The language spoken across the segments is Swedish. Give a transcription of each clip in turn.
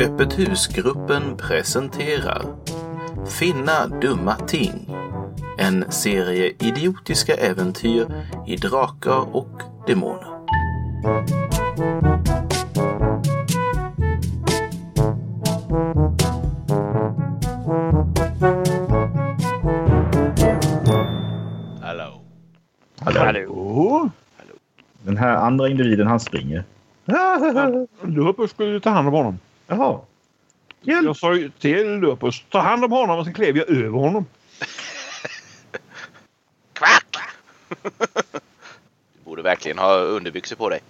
Öppet husgruppen presenterar Finna dumma ting. En serie idiotiska äventyr i drakar och demoner. Hallå. Hallå. Hallå! Den här andra individen han springer. Lupus skulle ju ta hand om honom. Jaha. Hjälp! Jag sa ju till Lupus, ta hand om honom och sen klev jag över honom. Kvack! du borde verkligen ha underbyxor på dig.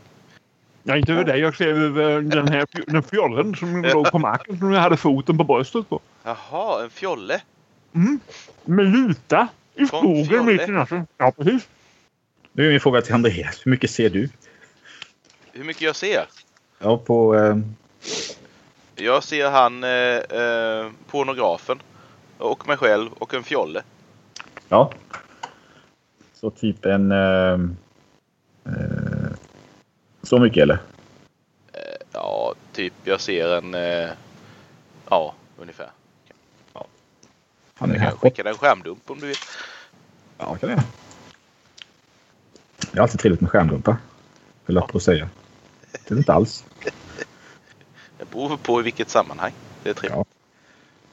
Ja, inte över dig. Jag klev över den här fj- den fjollen som låg på marken som jag hade foten på bröstet på. Jaha, en fjolle. Med luta Kom, i skogen fjolle. mitt i natten. Ja, precis. Nu är min fråga till Andreas. Hur mycket ser du? Hur mycket jag ser? Ja, på... Eh, Jag ser han, eh, eh, pornografen. Och mig själv och en fjolle. ja. Så typ en... Eh, eh, så mycket eller? Ja, typ jag ser en... Eh, ja, ungefär. Han är Jag kan här. skicka dig en skärmdump om du vill. Ja, kan jag. Det är alltid trevligt med skärmdumpar. Höll jag på att säga. Det är det inte alls. Det beror på i vilket sammanhang. Det är trevligt.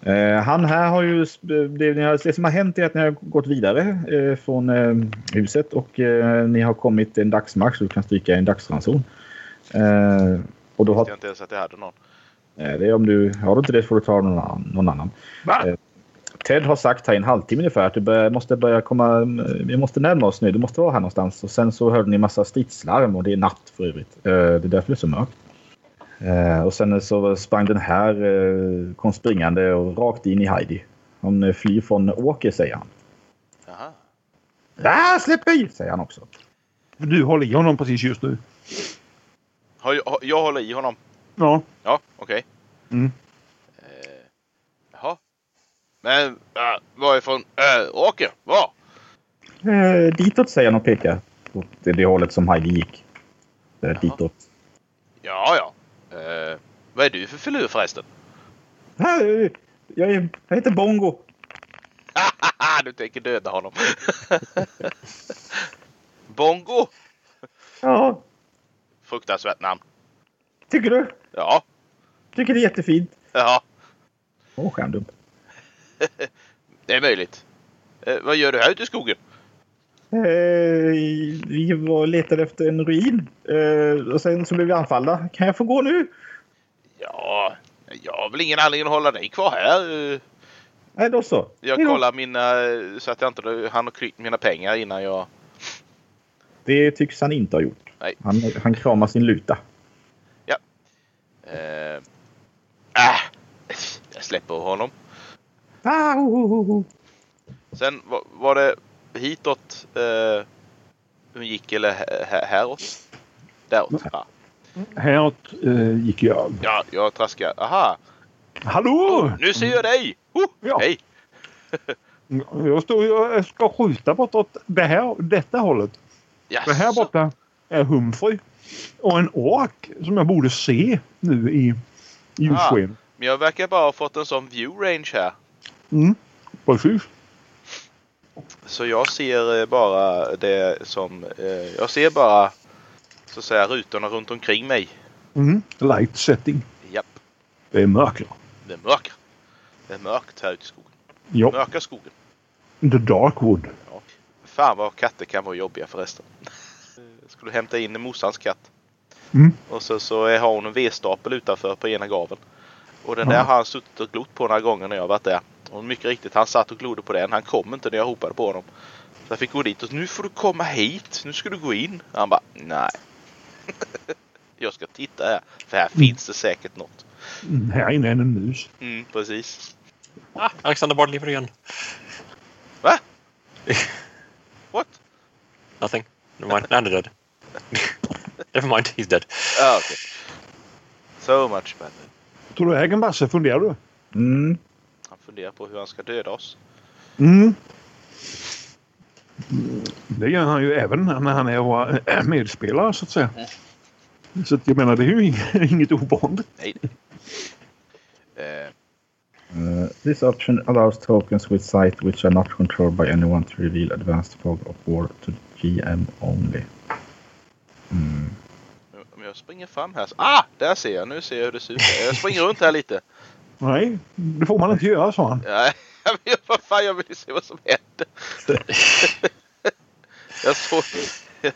Eh, han här har ju... Det, ni har- det som har hänt är att ni har gått vidare eh, från eh, huset och eh, ni har kommit en dagsmax. Du kan stryka en dagsranson. Eh, och då Jag har... visste inte ens att jag hade någon. Nej, det är om du... Har du inte det får du ta någon annan. Någon annan. Va? Eh, Ted har sagt här i en halvtimme ungefär att du bör, måste börja komma... Vi måste närma oss nu. Du måste vara här någonstans. Och sen så hörde ni massa stridslarm och det är natt för övrigt. Eh, Det är därför det är så mörkt. Eh, Och sen så sprang den här, eh, kom springande och rakt in i Heidi. Hon eh, flyr från åker, säger han. Jaha. Ah, släpp mig! säger han också. För Du håller i honom precis just nu. Har jag, har- jag håller i honom. Ja. Ja, okej. Mm. Eh, jaha. Men äh, varifrån? Äh, åker? Var? Eh, Ditåt, säger han och pekar åt det, det hållet som Heidi gick. Eh, Ditåt. Ja, ja. Eh, vad är du för filur förresten? Hej! eh, Jag, är, jag heter Bongo. du tänker döda honom. Bongo! Ja, Fruktansvärt namn. tycker du? Ja, Tycker det är jättefint. ja, Åh, skärmdump. det är möjligt. Eh, vad gör du här ute i skogen? Eh, vi var letade efter en ruin eh, och sen så blev vi anfallna. Kan jag få gå nu? Ja, jag har väl ingen anledning att hålla dig kvar här. Eh, Nej, då så. Jag Hej då. kollar mina, eh, så att jag inte hann klippt mina pengar innan jag... Det tycks han inte ha gjort. Nej. Han, han kramar sin luta. Eh, äh, jag släpper honom. Ah, ho, ho, ho, ho. Sen var, var det hitåt eh, hon gick eller hä- hä- häråt? Mm. Däråt? Ja, Häråt eh, gick jag. ja jag traskar. Aha! Hallå! Nu ser jag dig! Oh, Ja. Hej! Jag står jag ska skjuta bortåt det här, detta hållet. För här Jaså. borta är Humphrey och en ork som jag borde se nu i Ah. ljussken. Men jag verkar bara ha fått en sån view range här. Mm. Precis. Så jag ser eh, bara det som... Eh, jag ser bara så att säga rutorna runt omkring mig. Mm. Light setting. Japp, Det är mörker. det är mörkt. Det är mörkt här ute i skogen. Ja. Mörka skogen. The Dark Wood. Fan vad katter kan vara jobbiga förresten. Jag skulle hämta in morsans katt. Mm. Och så, så är- har hon en vedstapel utanför på ena gaveln. Och den där har han suttit och glott på några gånger när jag varit där. Och mycket riktigt, han satt och glodde på den. Han kom inte när jag ropade på honom. Så jag fick gå dit och nu får du komma hit. Nu ska du gå in. Han bara, nej. jag ska titta här. För här finns det säkert något. Mm. Här inne är en mus. Mm, precis. Ah, Alexander Bard lever igen. Va? What? Nothing. Never mind. Now they're dead. Never mind. He's dead. Ah, okay. So much better. Tror du äger en massa? Funderar du? Mm. Han funderar på hur han ska döda oss. Mm. Det gör han ju även när han är vår äh, medspelare så att säga. Så att jag menar det är ju ing- inget ovanligt. Nej. Eh, Uh, this option allows tokens with sight which are not controlled by anyone to reveal advanced fog of war to GM only. Mm. nu- om jag springer fram här. Så, ah! Där ser jag. Nu ser jag hur det ser ut. Jag springer runt här lite. Nej, det får man inte göra, sa han. Nej, jag vet vad fan. Jag vill ju se vad som händer. Jag såg...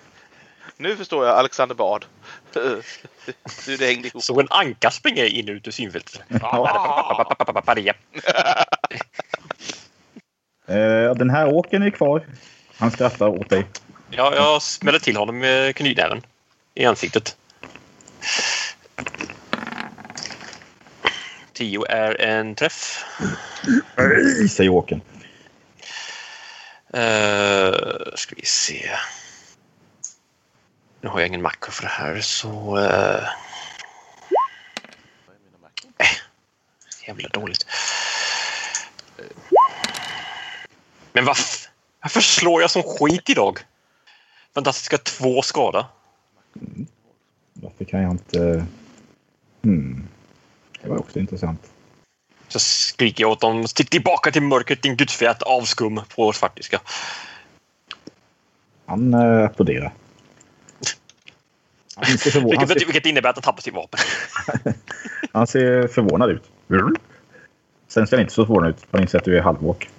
Nu förstår jag Alexander Bard. Hur det hängde ihop. Såg en anka springa in och ut ur synfältet. Ah. Paria. Eh, den här åken är kvar. Han skrattar åt dig. Ja, jag smäller till honom med knytnäven i ansiktet. Tio är en träff. Nej, säger åken. Uh, ska vi se. Nu har jag ingen macro för det här så... eh, jävla dåligt. Men vad... f- Varför slår jag som skit idag? Fantastiska två skada. Varför kan jag inte... Hmm. Det var också intressant. Så skriker jag åt dem. Stick tillbaka till mörkret din gudsfjät avskum på svartiska. Han eh, applåderar. Han ser, förvå- han, Vilket, ser, vilket innebär att han tappar sitt vapen. han ser förvånad ut. Sen ser han inte så förvånad ut. Han inser att du är halvåk.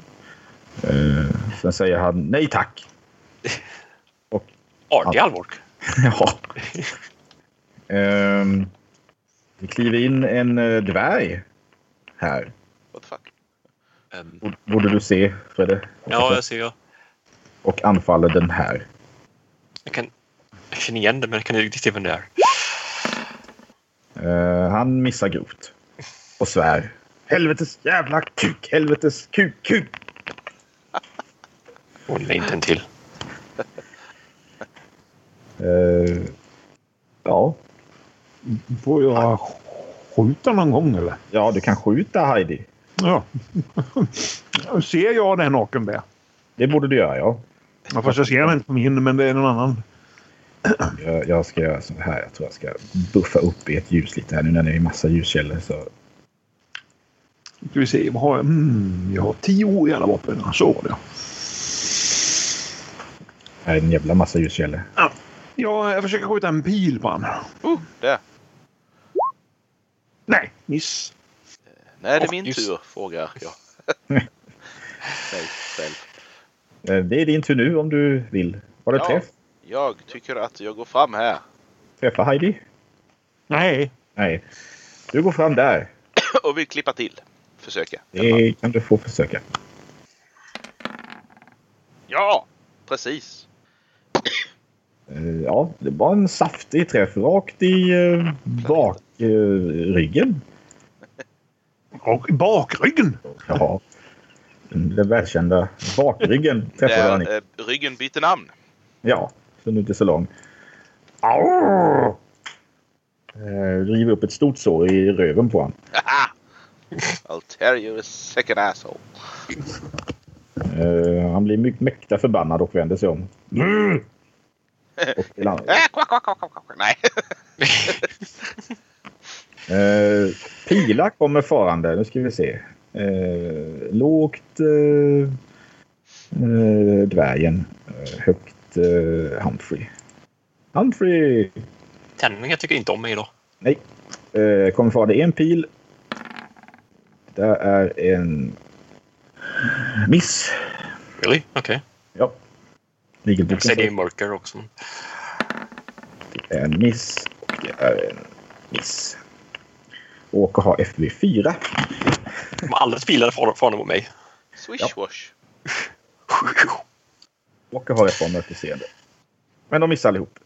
Eh, sen säger han nej tack. Artig Alvork. Ja. Ehm, det kliver in en eh, dvärg här. What the fuck? Ehm, Borde- Borde du se, Fredde. Ja, jag ser jag. Och anfaller den här. Jag kan... Jag känner igen det, men jag kan inte riktigt se vem det är. Eh, han missar grovt. Och svär. Helvetes jävla kuk! Helvetes kuk, kuk! Och det är inte en till. Eh, ja. Får jag skjuta någon gång, eller? ja, du kan skjuta Heidi. Ja. ser jag den åken där? Det borde du göra, ja. Ja, fast jag ser den inte på min, men det är någon annan. Jag, jag ska göra så här. Jag tror jag ska buffa upp ert ljus lite här nu när det är massa ljuskällor. Så. Ska vi se, vad har jag? Mm, jag har tio i alla vapen. Ja, Så var det. Här är en jävla massa ljuskällor. Ja, jag försöker skjuta en pil på honom. Oh, där. Nej, miss. När är det Och min just- tur? Frågar jag. Nej, själv. Eh, Det är din tur nu om du vill. Var det Ja. träff? Jag tycker att jag går fram här. Träffa Heidi? Nej. Nej. Du går fram där. Och vill klippa till. Försöka. Det kan du få försöka. Ja! Precis. Eh, Ja, det var en saftig träff rakt i eh, bakryggen. Och i bakryggen. Ja. Den välkända bakryggen träffade han i. Där, eh, ryggen byter namn. Ja, så nu är det så lång. Au! Eh, River upp ett stort sår i röven på honom. Haha! I'll tear you a second asshole. Eh, Han blir mycket mäkta förbannad och vänder sig om. Mm! Och till an- Äh, kvack, kvack, kvack, kvack, kvack. Nej. Eh, pilar kommer farande. Nu ska vi se. Eh, lågt eh, eh, dvärgen. Eh, högt eh, Humphrey. Humphrey Tändningar tycker inte om mig idag. eh, kommer farande. En pil. Där är en miss. Really? Okej. Ja. Ligelboken Säg det i säger mörker också. det är en miss. Och det är en miss. Åker har FV4. De har alldeles pilar far- farande mot mig. Swish wash. Åker har ett bra mörkerseende. Men de missar allihop.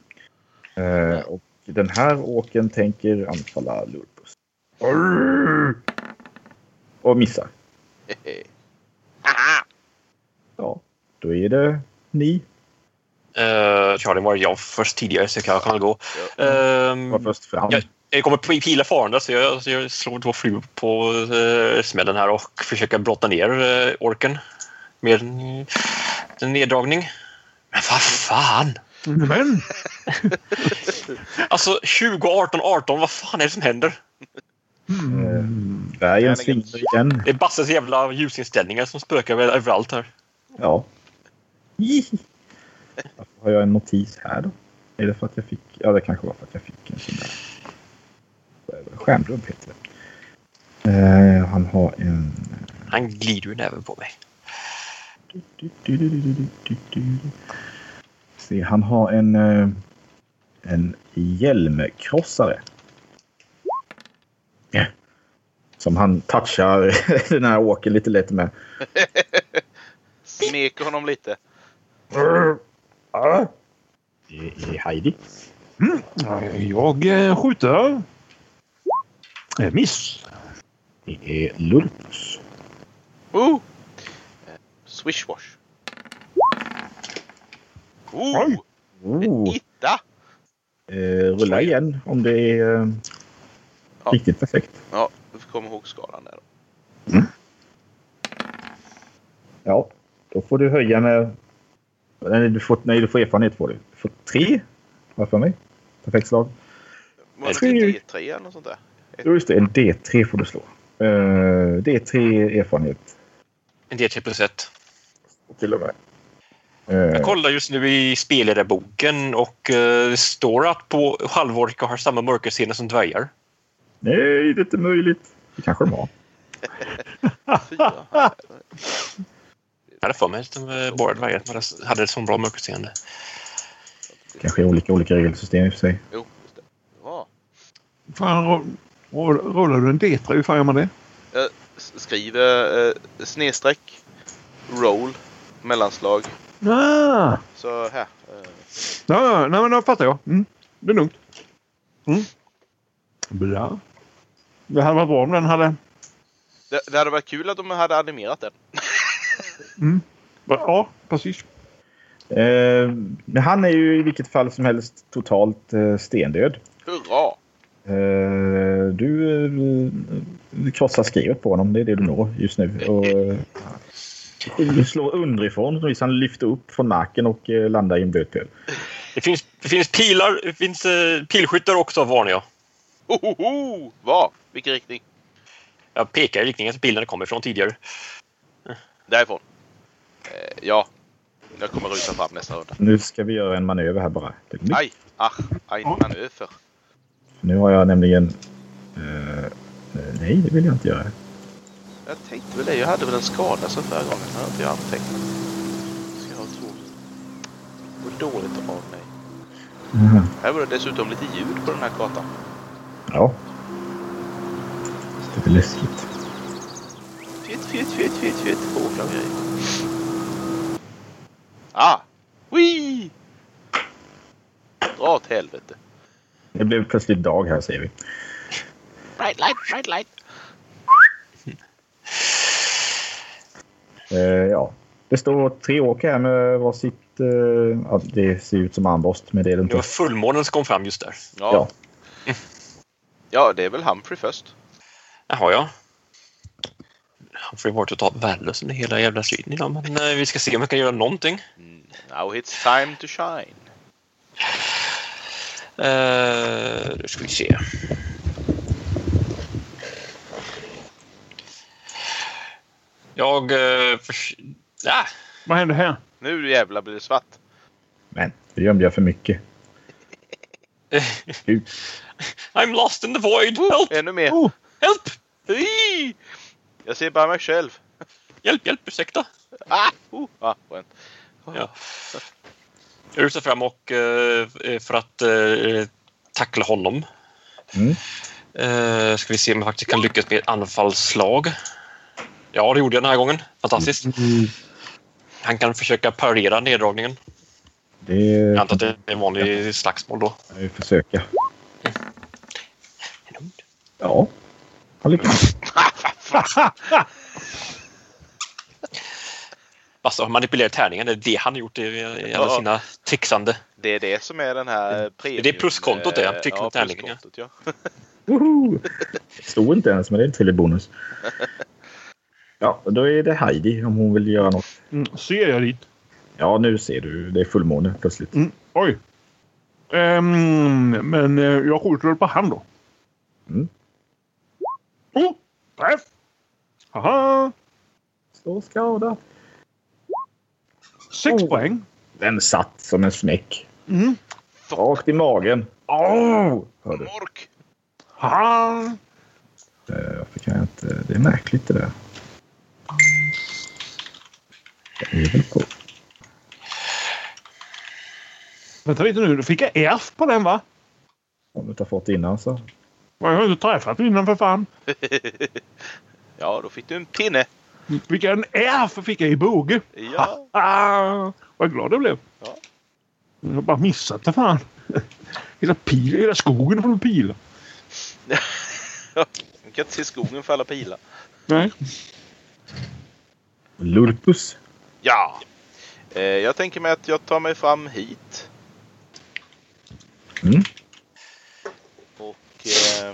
Eh, och den här åken tänker anfalla Lurpus. Mm. Och missar. Hehe. Haha! Ja, då är det ni. Uh, Charlie var jag först tidigare så jag kan, kan väl gå. Ehm, Var först fram. jag, jag kommer p- pila farande så jag, så jag slår två flugor på eh, smällen här och försöker brotta ner eh, orken med en, en neddragning. Men vad fan! Men Alltså 20, 18, 18, vad fan är det som händer? Mm. Eh, Dvärgen svingar igen. Det är Basses jävla ljusinställningar som spökar väl överallt här. Ja. Jihi. Varför har jag en notis här då? Är det för att jag fick... Ja, det kanske var för att jag fick en sån där... Skärmdump heter det. Eh, han har en... Han glider ju näven på mig. Se, han har en... eh, En hjälmkrossare. Ja. Som han touchar den här åker lite lätt med. Smeker honom lite. Ja. Det är Heidi. Jag eh, skjuter. Eh, Miss. Det är Lurpus. Oh! Swishwash. Oh! Oj. Oh. Itta! Eh, rulla igen om det är eh, Ja. riktigt perfekt. Ja, du får komma ihåg skalan där. då. Ja, då får du höja med... Nej, du får, nej, du får erfarenhet på det. Du får tre, har jag för mig. Perfekt slag. Var det inte D3 eller något sånt där? Jo, just det. En D3 får du slå. Eh, D3 erfarenhet. En D3 plus 1. Till och med. Eh, Jag kollar just nu i spelledarboken och eh, det står att på halvorka har samma mörkerseende som dvärgar. nej, det är inte möjligt. Det kanske de har. Fyra. Jag hade för mig att de, eh, bara dvärgar hade- hade ett sånt bra mörkerseende. Kanske är olika, olika regelsystem i och för sig. Jo, just det. Bra. Fan, ro- ro- rullar du en D3? Hur fan gör man det? S- Skriv eh, snedstreck, roll, mellanslag. Ah. Så här. Eh, Ja, nej, men då fattar jag. Mm. Det är lugnt. Mm. Bra. Det hade varit bra om den hade... det, det hade varit kul att de hade animerat den. Ja, precis. Eh, men han är ju i vilket fall som helst totalt eh, stendöd. Hurra! Eh, du eh, du krossar skrivet på honom. Det är det du når just nu. Och, eh, du slår underifrån. Så han lyfter upp från marken och eh, landar i en blöt pöl. Det finns, det finns pilar, det finns eh, pilskyttar också varnar jag. Hohoho! Var? Vilken riktning? Jag pekar i riktningen som pilarna kommer ifrån tidigare. Därifrån. Eh, ja. Jag kommer rusa fram nästa runda. Nu ska vi göra en manöver här bara. Aj! Ach! Ein manöver. Nu har jag nämligen... eh, eh, nej, det vill jag inte göra. Jag tänkte väl det. Jag hade väl en skada som förra gången. Jag har inte jag antecknat. Ska jag ha två? Det var dåligt av mig. Mhm. Här var det dessutom lite ljud på den här kartan. Ja. Det är läskigt. Fjutt, fjutt, fjutt, fjutt, fjutt. Fåglar och grejer. Ah! Wee! Dra åt helvete. Det blev plötsligt dag här, säger vi. Bright light, bright light. Eh, ja. Det står tre åker här med varsitt... Eh, ja, det ser ut som armborst, men det är det Det inte. var fullmånen som kom fram just där. Ja. ja, det är väl Humphrey först. Jaha, ja. Han får ju varit totalt värdelös under hela jävla striden idag, men eh, vi ska se om jag kan göra någonting. Now it's time to shine. Eh, nu ska vi se. Jag... Eh, förs- ah, Vad händer här? Nu jävlar blir det svart. Men det gömde jag för mycket. Gud. I'm lost in the void! Help! Ännu mer. Oh. Help! Ui! Jag ser bara mig själv. Hjälp, hjälp, ursäkta! Ah! Oh. Ah, skönt. Ja. Jag rusar fram och, eh, för att eh, tackla honom. Mm. Eh, ska vi se om jag faktiskt kan lyckas med ett anfallsslag. Ja, det gjorde jag den här gången. Fantastiskt. Han kan försöka parera neddragningen. Det Jag kan antar att det är en vanlig slagsmål då. jag ju försöka. Ja, han lyckas. Alltså, manipulera tärningen, det är det han har gjort i, i alla Ja. sina trixande. Det är det som är den här eh, premium... Mm. Det är pluskontot det, eh, jag tycker ja, att det är länge. pluskontot, ja. Woho! Stod inte ens, men det är en trevlig bonus. Ja, då är det Heidi om hon vill göra något. Mm, ser jag dit? Ja, nu ser du. Det är fullmåne plötsligt. Mm, oj. Ehm, men eh, jag skjuter väl på han då. Mm. Oh! Träff! Haha! Står skadad. Sex Oh. poäng. Den satt som en snäck. Mm. Rakt i magen. Åh! Hör du? Mork! Haha! Eh, Varför kan jag inte... Det är märkligt det där. Jag är väl på. Vänta lite nu, då fick jag F på den va? Om du inte har fått alltså. det innan så. Jag har inte träffat innan för fan. ja, då fick du en pinne. Vilken F fick jag i båge! Ja. Ah, vad glad jag blev. Ja. Jag har bara missat det fan. Hela, pil, hela skogen från pil. Du kan inte se skogen för alla pilar. Nej. Lurpus. Ja! Eh, jag tänker mig att jag tar mig fram hit. Mm. Och eh,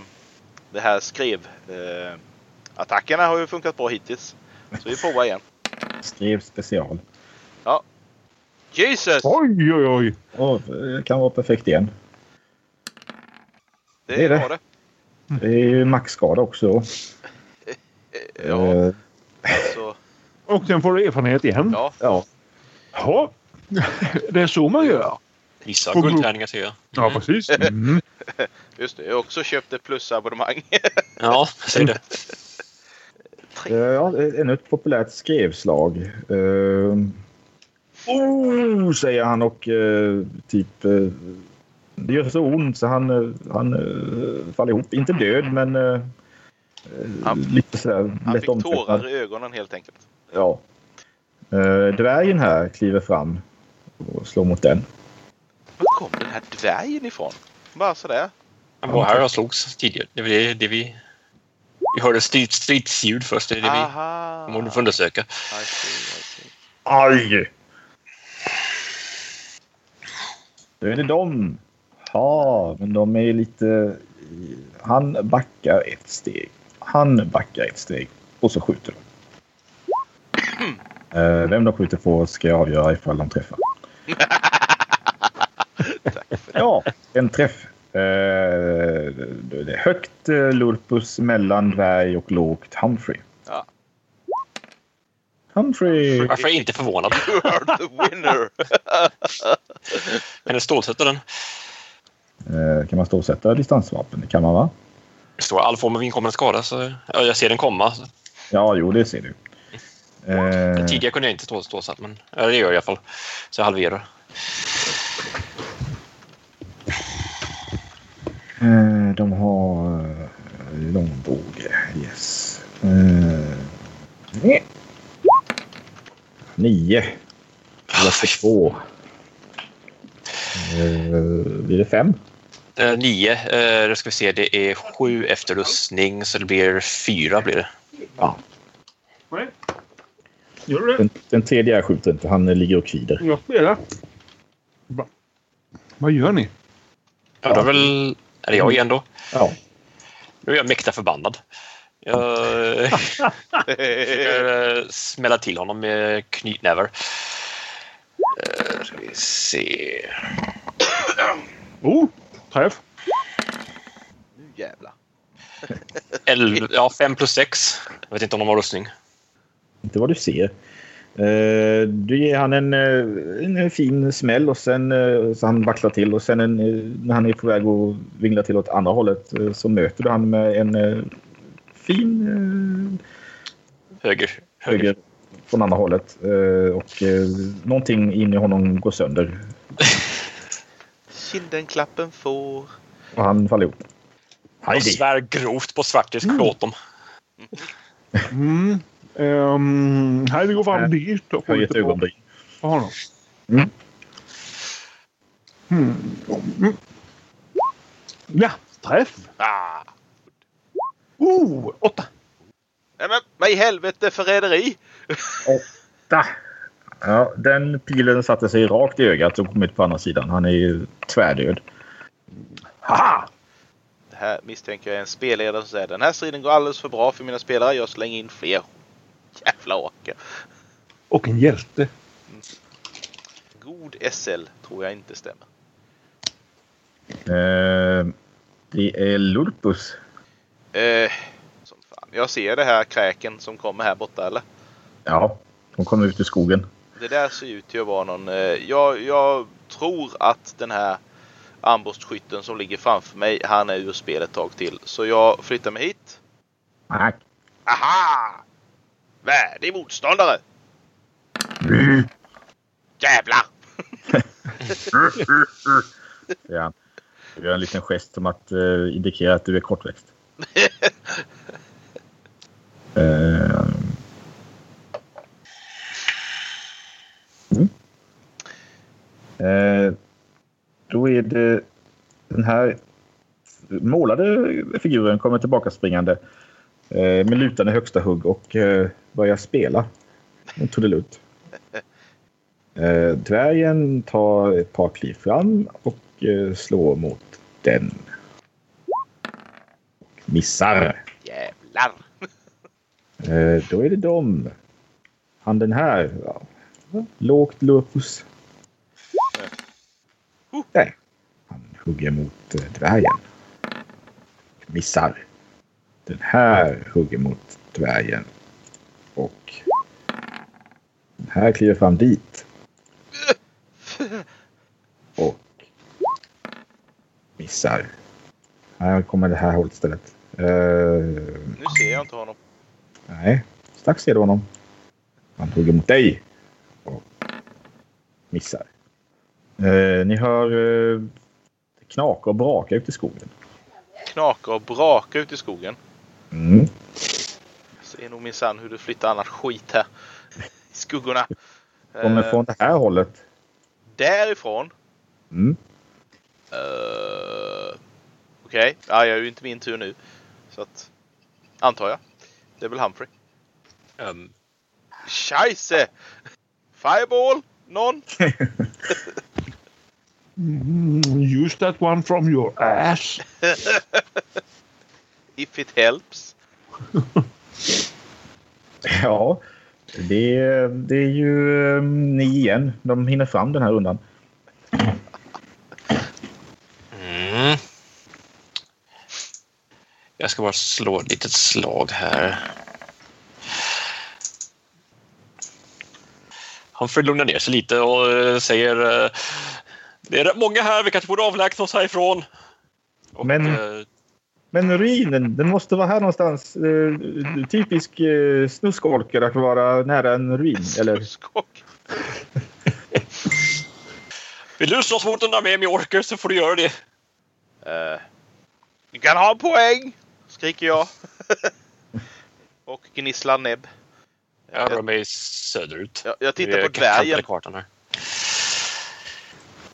det här skrev... Eh, attackerna har ju funkat bra hittills. Så vi provar igen. Skrev special. Jesus! Oj, oj, oj. Åh, det kan vara perfekt igen. Det det är det. var det. Det är ju maxskada också då. Eh, Ja, Eh, så, Och den får du erfarenhet igen. ja. ja. Ja. Det är så man gör. Vissa Får gå- guldtärningar ser jag. Ja, precis. Mm. Just det, jag har också köpt ett plusabonnemang. Ja, säg det. Eh, ja, ännu ett populärt skrevslag. Eh, oh, säger han och eh, typ... Eh, det gör så ont så han, eh, han eh, faller ihop. Inte död, men eh, Han- lite sådär Han lätt fick tårar omtöcknad. i ögonen helt enkelt. Ja. Eh, dvärgen här kliver fram och slår mot den. Var kom den här dvärgen ifrån? Bara sådär. Han var här och slogs tidigare. Det var det, det vi... Vi hörde strid, stridsljud först. Det är det Aha! vi borde få undersöka. I see, I see. Aj! Då är det dem. Ja, men de är lite... Han backar ett steg. Han backar ett steg. Och så skjuter de. Eh, Vem de skjuter på ska jag avgöra ifall de träffar. ja, en träff. Eh, Det är högt eh, Lurpus, mellan dvärg och lågt Humphrey. Ja. Humphrey! Varför är jag inte förvånad? You are the winner! Kan du stålsätta den? Eh, Kan man stålsätta distansvapen? Det kan man va? Det står all form av inkommande skada. Så... Ja, jag ser den komma. Så... Ja, jo det ser du. Eh, Tidigare kunde jag inte stå, stålsatt, men ja, det gör jag i alla fall. Så jag halverar. eh, de har eh, långbåge. Yes. Eh, nej. nio. Ah, fy fan. Två. Eh, blir det fem? Eh, nio. Eh, då ska vi se. Det är sju efter rustning, så det blir fyra. Blir det. Nej. Gör du det? Den, den tredje jag skjuter inte. Han eh, ligger och kvider. Jag spelar. Va? Vad gör ni? Ja, då är väl... Är det jag igen då? Ja. Nu är jag mäkta förbannad. Jag eh, försöker eh, smälla till honom med knytnävar. Eh, Ska vi se... Oh, träff. nu jävlar. Elv, ja, fem plus sex. Jag vet inte om de har rustning. Inte vad du ser. Eh, du ger han en, eh, en fin smäll och sen eh, så han vacklar till och sen en, eh, när han är på väg att vingla till åt andra hållet eh, så möter du han med en eh, fin eh, Höger. höger. höger från andra hållet eh, och eh, någonting in i honom går sönder Kindenklappen får... och han faller ihop. Jag svär grovt på Svartis klåtom. Mm. Um, här vi går fram Äh, dit och Höjer skjuter ett på- ögonbryn. på honom. Mm. Mm. Mm. Ja, träff. Ah! Oh, åtta. Nej men vad i helvete förräderi! Åtta! Ja, den pilen satte sig rakt i ögat och kom ut på andra sidan. Han är ju tvärdöd. Haha! Det här misstänker jag är en spelledare som säger den här striden går alldeles för bra för mina spelare. Jag slänger in fler. Jävla åker. Och en hjälte. God SL tror jag inte stämmer. Eh, det är Lurpus. Eh, som fan. Jag ser det här kräken som kommer här borta eller? Ja, de kommer ut ur skogen. Det där ser ut till att vara någon... eh, Jag, jag tror att den här armborstskytten som ligger framför mig, han är ur spel ett tag till. Så jag flyttar mig hit. Nej. Aha! Värdig motståndare! Jävlar! Ja. Du gör en liten gest som att eh, indikera att du är kortväxt. Eh, mm. eh, då är det den här målade figuren kommer tillbaka springande eh, med lutande högsta hugg och eh, börjar spela en trudelutt. Eh, dvärgen tar ett par kliv fram och eh, slår mot den. Missar. Jävlar! Eh, då är det dem. Han den här. Ja. Lågt lupus. Huh. Nej. Han hugger mot eh, dvärgen. Missar. Den här hugger mot dvärgen. Och den här kliver fram dit. Och missar. Här kommer det här hållet istället. Eh, Nu ser jag inte honom. Nej, strax ser du honom. Han hugger mot dig och missar. Eh, ni hör eh, det knaka och braka ute i skogen. Knaka och braka ut i skogen. Mm. Ser nog minsann hur du flyttar annat skit här. I skuggorna. Kommer Eh, från det här hållet. Därifrån. Mm. Eh, Okej, ja, jag är ju inte min tur nu. Så att, antar jag. Det är väl Humphrey. Ehm, Scheisse! Fireball! Någon? Mm, use that one from your ass. If it helps. Ja, det, det är ju eh, ni igen. De hinner fram den här rundan. Mm. Jag ska bara slå ett litet slag här. Han får lugna ner sig lite och eh, säger eh, Det är rätt många här, vi kanske borde avlägsna oss härifrån. Och, Men- eh, Men ruinen, den måste vara här någonstans. Eh, typisk eh, snuskolkare att vara nära en ruin. Eller Skock. Vill du slåss mot en armé med orker så får du göra det. Eh, du kan ha en poäng! Skriker jag. Och gnisslar näbb. Jag rör mig söderut. Jag, jag Det tittar är på kanten dvärgen. i kartan här.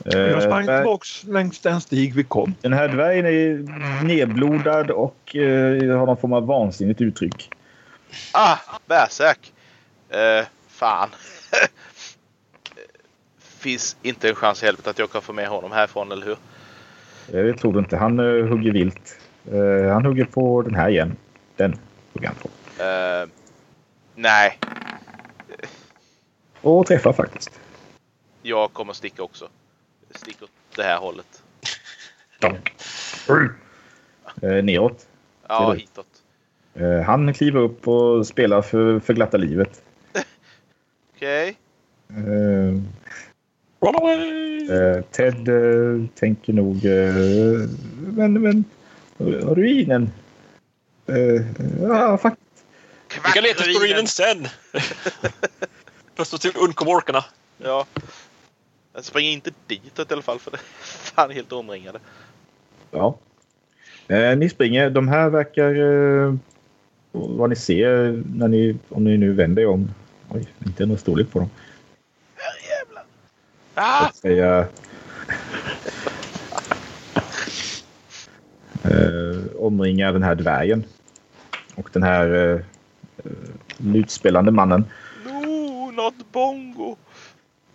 Jag sprang eh, tillbaks längs den stig vi kom. Den här dvärgen är nedblodad och eh, har någon form av vansinnigt uttryck. Ah! Bärsärk! Eh, fan. Eh, Finns inte en chans i helvete att jag kan få med honom härifrån, eller hur? Eh, Det tror du inte. Han eh, hugger vilt. Eh, han hugger på den här igen. Den hugger han på. Eh, nej, Och träffar faktiskt. jag kommer sticka också. Stick åt det här hållet. Eh, neråt. Ser Ja, du? hitåt. Eh, han kliver upp och spelar för, för glatta livet. Okej. Eh, Run away! eh, Ted eh, tänker nog... Eh, men, men... Ruinen. Eh, ja, fuck. Vi kan leta efter ruinen sen! Först och till undkom orkarna. Ja. Jag springer inte ditåt i alla fall, för det fan är helt omringade. Ja. Eh, ni springer. De här verkar... Eh, vad ni ser när ni, om ni nu vänder er om. Oj, inte någon storlek på dem. Herrejävlar! Ah! Säga, eh, omringar den här dvärgen. Och den här eh, eh, lutspelande mannen. No, not bongo!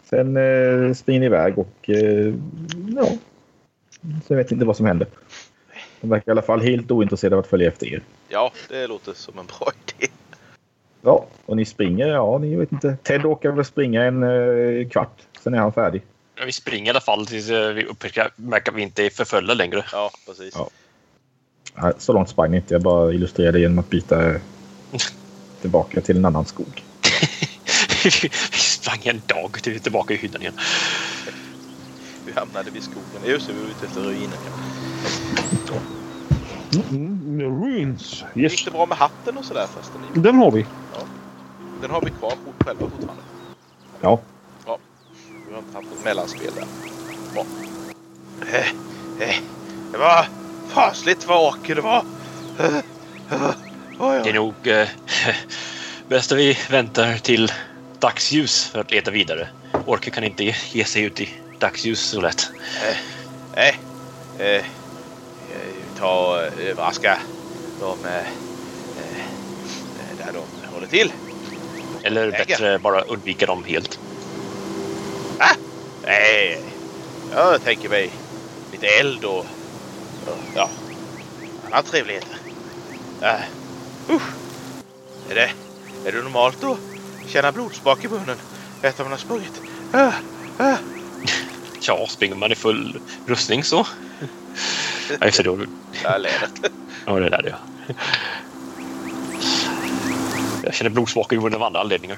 Sen eh, springer ni iväg och... Eh, ja. Så jag vet inte vad som händer. De verkar i alla fall helt ointresserade av att följa efter er. Ja, det låter som en bra idé. Ja, och ni springer. Ja, ni vet inte. Ted åker väl springa en eh, kvart. Sen är han färdig. Ja, Vi springer i alla fall tills eh, vi upptäcker märker att vi inte är förföljda längre. Ja, precis. Ja. Nej, så långt sprang ni inte. Jag bara illustrerade genom att byta eh, Tillbaka till en annan skog. Vi sprang en dag och är tillbaka i hyddan igen. Vi hamnade vid skogen. Just det, vi var ute efter ruiner. ja. Mm, the ruins. Yes. Gick det bra med hatten och sådär förresten? Den har vi. Den har vi kvar fort- själva fortfarande. Ja. Vi har inte haft något mellanspel där. Bra. Eh, eh, Det var fasligt vad åker det var. Eh, eh, oj, Det är oj. nog eh, bäst att vi väntar till dagsljus för att leta vidare. Orken kan inte ge sig ut i dagsljus så lätt. Eh, eh, eh, Vi tar och överraska de eh, eh, där de håller till. Eller Läge. bättre bara undvika dem helt. Nej, jag tänker mig lite eld och ja, andra trevligheter. Äh, usch. Är det, är det normalt att känna blodsmak i munnen efter man har sprungit? Äh, äh. Ja, springer man i full rustning så. Ja, just det. Då, Jag ler. ja, det där det. Jag känner blodsmak i munnen av andra anledningar.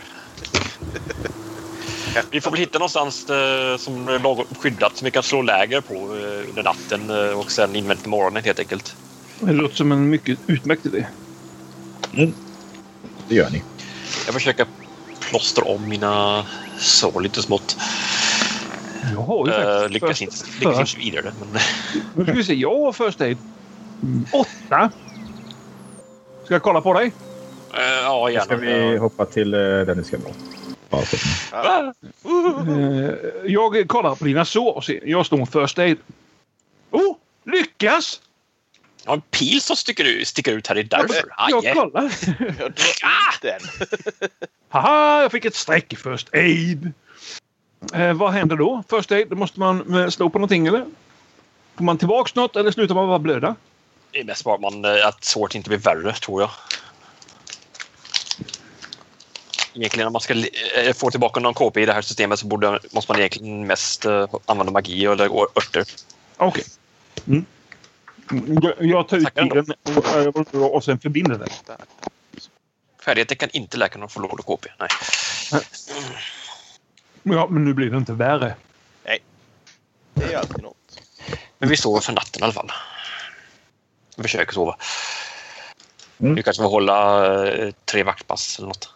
Vi får väl hitta någonstans eh, som är lagom skyddat som vi kan slå läger på eh, under natten eh, och sen invänta morgonen helt enkelt. Det låter som en mycket utmärkt idé. Det gör ni. Jag försöker plåstra om mina sår lite smått. Jag har ju faktiskt... Uh, lyckas först- inte, lyckas först- inte vidare. Men Nu ska vi se. Jag har first aid. Mm, Åtta. Ska jag kolla på dig? Eh, ja, Ska gärna. vi hoppa till eh, där ni ska vara? Ja, så. Ah, Eh, jag kollar på dina sår och ser. Jag står first aid. Oh! Lyckas! Jag har en pil som sticker ut, sticker ut här. Det är därför. jag Aj, eh. kollar. Jag drar Ah! ut den. Haha, jag fick ett streck i first aid. Eh, vad händer då? First aid, då måste man eh, slå på någonting eller? Får man tillbaks något eller slutar man bara blöda? Det är mest bara man, eh, att såret inte blir värre, tror jag. Egentligen om man ska eh, få tillbaka någon KP i det här systemet så borde, måste man egentligen mest eh, använda magi eller och örter. Okej. Mm. Jag, jag tar ut Tackar ändå. pilen och, och, och sen förbinder den. Färdigheten kan inte läka någon förlorad KP. Nej. Ja, men nu blir det inte värre. Det är alltid något. Men vi sover för natten i alla fall. Vi försöker sova. Mm. Vi kanske får hålla eh, tre vaktpass eller något.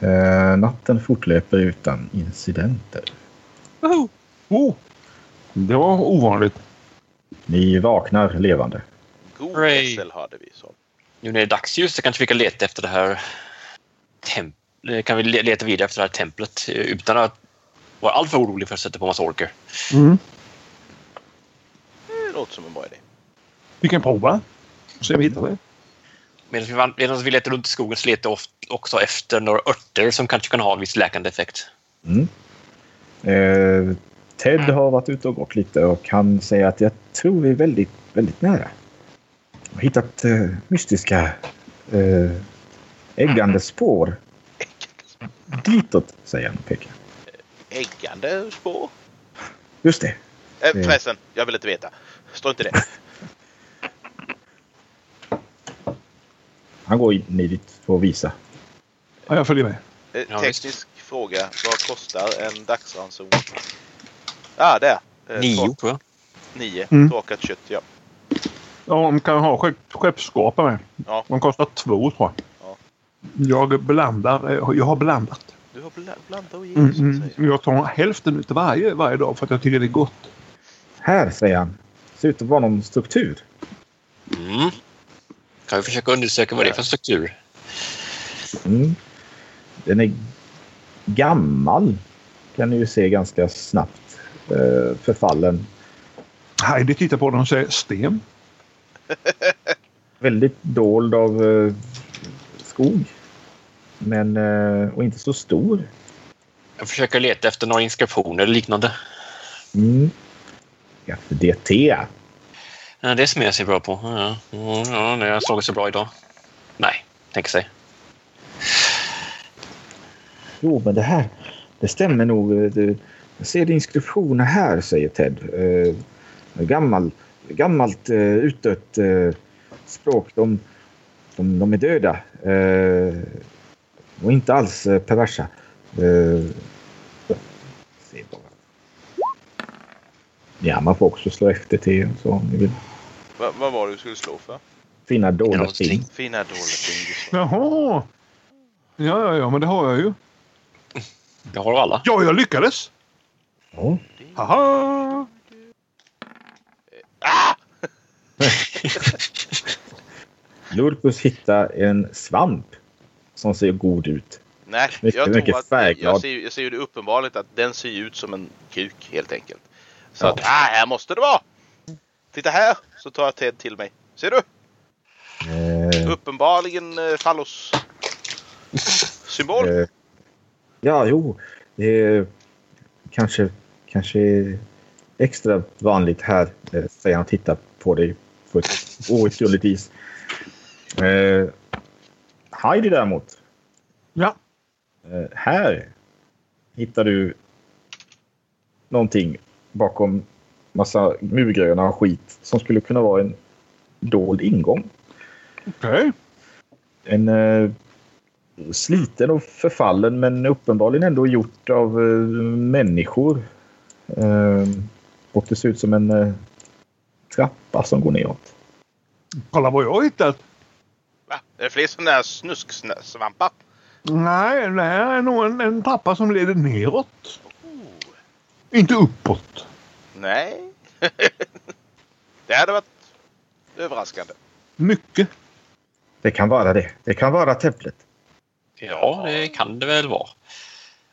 Eh, natten fortlöper utan incidenter. Woho! Oh, det var ovanligt. Ni vaknar levande. God Hooray. vässel hade vi. Så. Nu när det är dagsljus så kanske vi kan leta efter det här temp- eh, kan vi le- leta vidare efter det här templet eh, utan att vara alltför orolig för att sätta på massa orker. Mm. Det låter som en bra idé. Vi kan prova. Och se om vi hittar det. Medan vi, van- medan vi letar runt i skogen så letar vi oft- också efter några örter som kanske kan ha en viss läkande effekt. Eh, Ted har varit ute och gått lite och han säger att jag tror vi är väldigt, väldigt nära. Jag har hittat eh, mystiska eh, äggande spår. Ditåt, säger han och pekar. Äggande spår? Just det. Äh, Mm. förresten, jag vill inte veta. Strunt i det. Han går in i dit för att visa. Ja, jag följer med. Eh, Ja, teknisk fråga. Vad kostar en dagsranson? Ah, där! Eh, Nio, tork- tror jag. Nio. Mm. Torkat kött, ja. Ja, de kan ha skepp, skeppsskorpa med. Ja. De kostar två, tror jag. Ja. Jag blandar. eh, Jag har blandat. Du har bla- blandat och Mm, gett, så att mm. säga. Jag tar hälften utav varje varje dag för att jag tycker det är gott. Här, säger han. Ser ut att vara någon struktur. Mm. Kan vi försöka undersöka vad det är för struktur? Mm. Den är gammal. Kan ni ju se ganska snabbt. Eh, förfallen. Heidi tittar på den och säger sten. Väldigt dold av eh, skog. Men, eh, och inte så stor. Jag försöker leta efter några inskriptioner eller liknande. Mm. FDT. Ja, det smör jag sig bra på. Ja, ja, ja, det har slagit så bra idag. Nej, tänker sig. Jo, men det här det stämmer nog. Det- Jag ser inskriptioner här, säger Ted. Eh, gammal, gammalt eh, utdött eh, språk. De, De, de är döda. Eh, och inte alls eh, perversa. Eh, se bara. Ja, man får också slå efter till så om ni vill Va, vad var det du skulle slå för? finna dolda Någonting. ting. Fina dåligt ting. Jaha! Ja, ja, ja, men det har jag ju. Det har alla. Ja, jag lyckades! Ja. Haha! Ah! Lurpus hittar en svamp som ser god ut. Nej, Mycket, jag mycket tror att färgglad. jag ser, jag ser ju det uppenbarligt att den ser ju ut som en kuk helt enkelt. Så Ja. att, ah, här måste det vara! Titta här! Så tar jag Ted till mig. Ser du? Eh, Uppenbarligen eh, fallos. Symbol. eh, ja, jo. Det är kanske, kanske extra vanligt här, eh, säger han och tittar på dig på ett outgrundligt vis. Eh, Heidi däremot. Ja. Eh, här hittar du någonting bakom massa murgröna och skit som skulle kunna vara en dold ingång. Okej. en eh, sliten och förfallen men uppenbarligen ändå gjort av eh, människor. Eh, och det ser ut som en eh, trappa som går neråt. Kolla vad jag har hittat. Va? Är det fler sådana här snusksvampar? Nej, det här är nog en, en trappa som leder neråt. Inte uppåt. Nej. det hade varit överraskande. Mycket. Det kan vara det. Det kan vara templet. Ja, det kan det väl vara.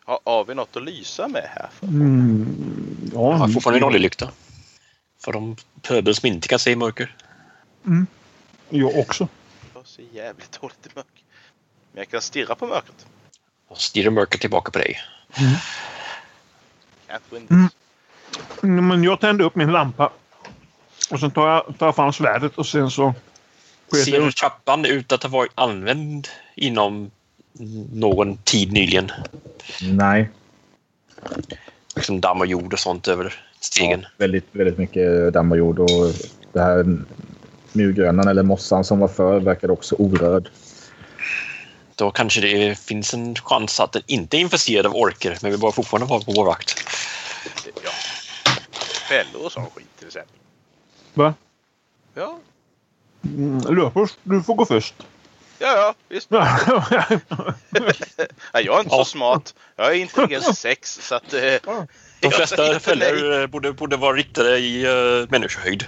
Har, har vi något att lysa med här? Mm. Jag Ja, har fortfarande nollelykta. För de pöbel som inte kan se i mörker. jag också. Jag ser jävligt dåligt i mörker. Men jag kan stirra på mörkret. Och stirrar mörker tillbaka på dig. Can't win this. Mm. Mm, Men jag tände upp min lampa. Och sen tar jag, tar jag fram svärdet och sen så... sket Ser jag- du trappan ut att ha varit använd inom någon tid nyligen? Nej. Liksom damm och jord och sånt över stegen. Ja, väldigt, väldigt mycket damm och jord. Och det här murgrönan eller mossan som var förr verkade också orörd. Då kanske det finns en chans att den inte är infesterad av orker, men vi bör fortfarande vara på vår vakt. Ja. Fällor och sån skit till exempel. Va? Ja, Mm, Löpers, du får gå först. ja, ja visst. Nej, jag är inte så Ja. smart. Jag är intelligens 6 så att... Eh, De De jag säger inte flesta nej. fällor eh, borde, borde vara riktade i uh, människohöjd.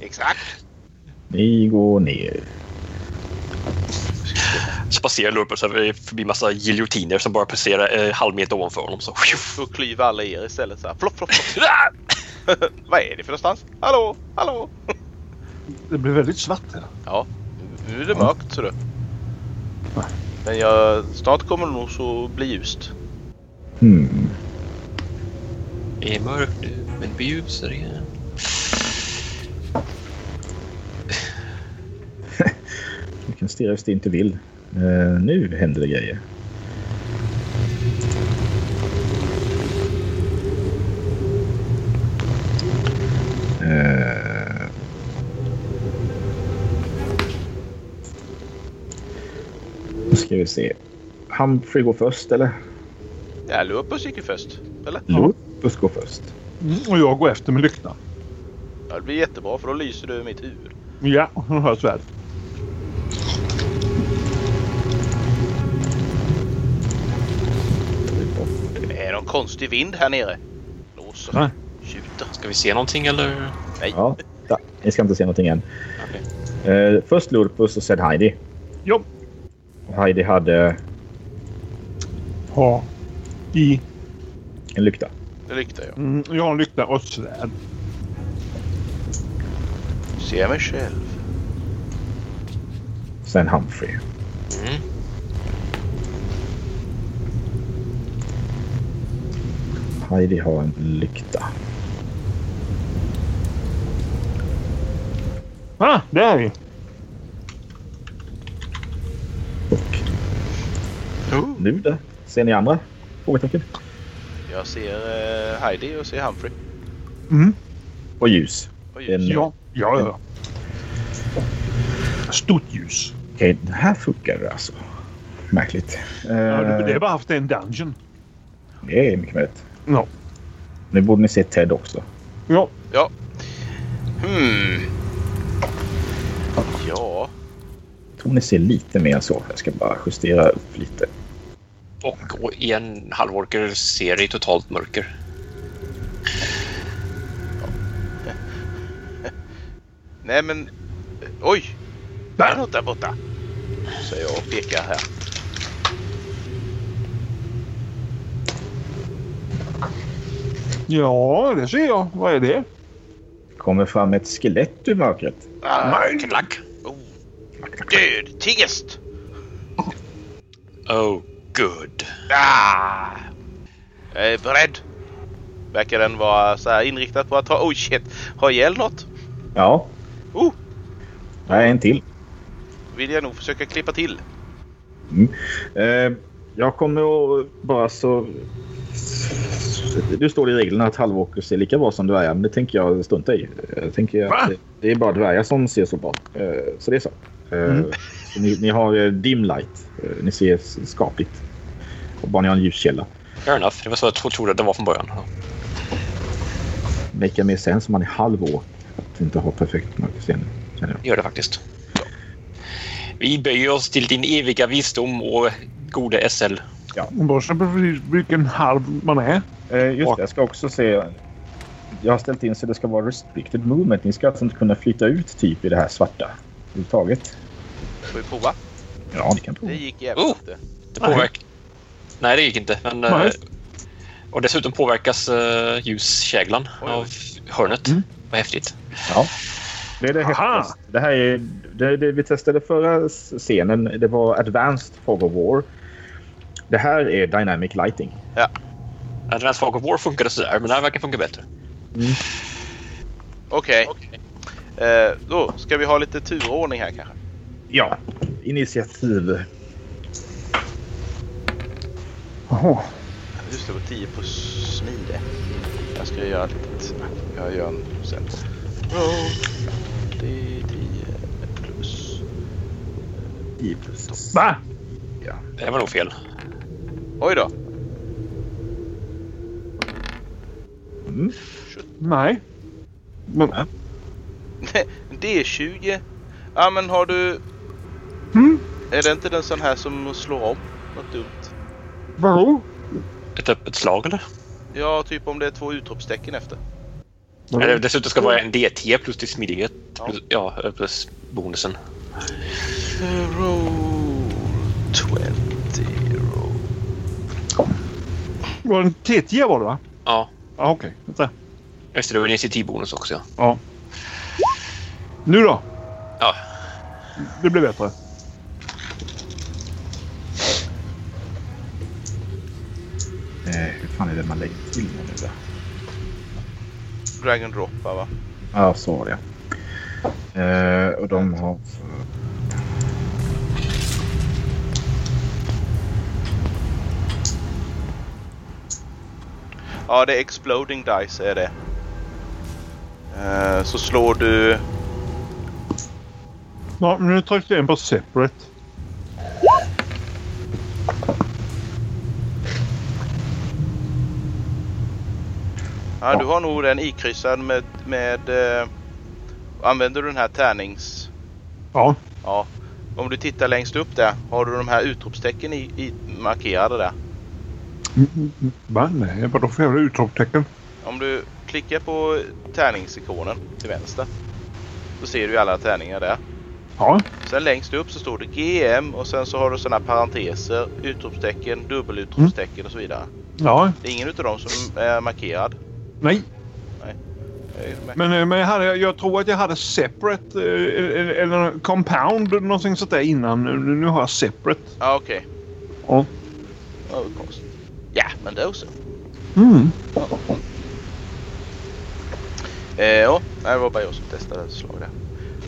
Exakt. Ni går ner. Så passerar Lurpus över- förbi massa giljotiner som bara passerar eh, halvmeter ovanför honom. Så. Och klyva alla er istället så här. Flopp, flopp, flopp. Vad är det för någonstans? Hallå, hallå. Det blir väldigt svart här. Ja, nu är det mörkt så du. Men jag, snart kommer det nog så bli ljust. Hmm. Det är mörkt nu, men det blir ljusare igen. Du kan stirra ut det inte vill. Eh, nu händer det grejer. Eh. Nu ska vi se. Han får gå först, eller? Ja, Lupus gick ju först. Eller? Lopus går först. Mm, Och jag går efter med lyktan. Ja, det blir jättebra för då lyser du över mitt huvud. Ja, hon har svärdet. Det är någon konstig vind här nere. Nej. Blåser. Tjuter. Ska vi se någonting eller? Ja, da, ni ska inte se någonting än. Eh, först Lopus och sen Heidi. Jo. Och Heidi hade Ha. I. en lykta. Det lyktar jag. Mm, jag har en lykta och ett svärd. Ser jag mig själv? Sen Humphrey. Mm. Heidi har en lykta. Ah, där är vi. Och Oh. nu där. Ser ni andra? Frågetecken. Jag ser eh, Heidi och ser Humphrey. Mm. Och ljus. Och En- ljus. Ja, ja, ja. Stort ljus. Okej, den här funkar alltså. Märkligt. Eh, Ja, det det är bara haft en dungeon. det är mycket möjligt. Ja. Nu borde ni se Ted också. Ja. Ja. Hmm. Ja. Jag tror ni ser lite mer än så. Jag ska bara justera upp lite. Och, och i en halvorker ser i totalt mörker. Nej men. eh, Oj! Där är Där! något där borta. Säger jag och pekar här. Ja, det ser jag. Vad är det? Kommer fram ett skelett ur mörkret. Ah, Mörk, Klack! oh. Död tigest! Oh, good. Ah! Jag är beredd. Verkar den vara så här inriktad på att ta... Oh shit! Har ihjäl något? Ja. Oh! Här är en till. Vill jag nog försöka klippa till. Eh, jag kommer att bara så... Du står i reglerna att halvåkers är lika bra som dvärgar, men det tänker jag strunta i. Jag tänker Va? att det, det är bara dvärgar som ser så bra. Eh, så det är så. Eh, Mm. så ni, ni har eh, dim light. Eh, ni ser s- skapligt. Och bara ni har en ljuskälla. Fair enough. Det var så jag tro- trodde att den var från början. Make mer sense om man är halvåk. Att inte ha perfekt mörkerseende. känner jag. Det gör det faktiskt. Vi böjer oss till din eviga visdom och gode SL. Man bara ser precis vilken halv man är. Eh, just det, jag ska också se. Jag har ställt in så det ska vara restricted movement. Ni ska alltså inte kunna flytta ut typ i det här svarta. Överhuvudtaget. Får vi prova? Ja, ni kan prova. Det gick jävligt eh, Oh! inte. Det påverk... Nej, det gick inte. Men, eh, Nej. och dessutom påverkas eh, ljuskäglan Oj, Mm. oj. av hörnet. Vad häftigt. Ja. Det är det Aha! häftigaste. Det här är det, det vi testade förra scenen. Det var advanced fog of war. Det här är dynamic lighting. Advanced Fog of War funkade sådär, men det här verkar funka bättre. Okej. Eh, då ska vi ha lite turordning här kanske. Ja. Initiativ. Jaha. Just det, det var 10 på smide. Jag ska göra lite... Jag gör en sen. Det är 10 plus... 10 plus. Va? Det var nog fel. Oj då! Nej. Men, D20. Ja men har du... Mm. Är det inte den sån här som slår om? Något dumt. vadå? Ett öppet slag, eller? Ja, typ om det är två utropstecken efter. eller dessutom ska det vara en DT plus till smidighet. Ja. Plus, ja, eh, plus bonusen. Roll 20. Roll. Var det en T10 var det va? Ja. Ja, okej. Vänta. Just det, det var en initiativbonus också. Ja. Ja. Nu då? Ja. Det blir bättre. Eh, hur fan är det man lägger till med nu? då? Drag and drop va? Ja, så var det. Eh, och de har... Ja, det är exploding dice är det. Eh, Så slår du... Ja, men nu tryckte jag in på separate. Ja, du har nog den ikryssad med... med eh, använder du den här tärnings... Ja. Ja. Om du tittar längst upp där, har du de här utropstecken i, i markerade där? Va? Nej, vadå för jävla utropstecken? Om du klickar på tärningsikonen till vänster så ser du ju alla tärningar där. Ja. Sen längst upp så står det GM och sen så har du sådana parenteser, utropstecken, dubbelutropstecken och så vidare. Ja. Det är ingen utav dem som är markerad. Nej. Det är ju märkligt. Men, eh, men jag, hade, jag tror att jag hade separate eh, eller- eller compound eller någonting sånt där innan. Nu, nu har jag separate. Ja, okej. Ja. Ja, vad konstigt. Ja, men då så. Mm. Eh, ja, Nej, det var bara jag som testade ett slag där.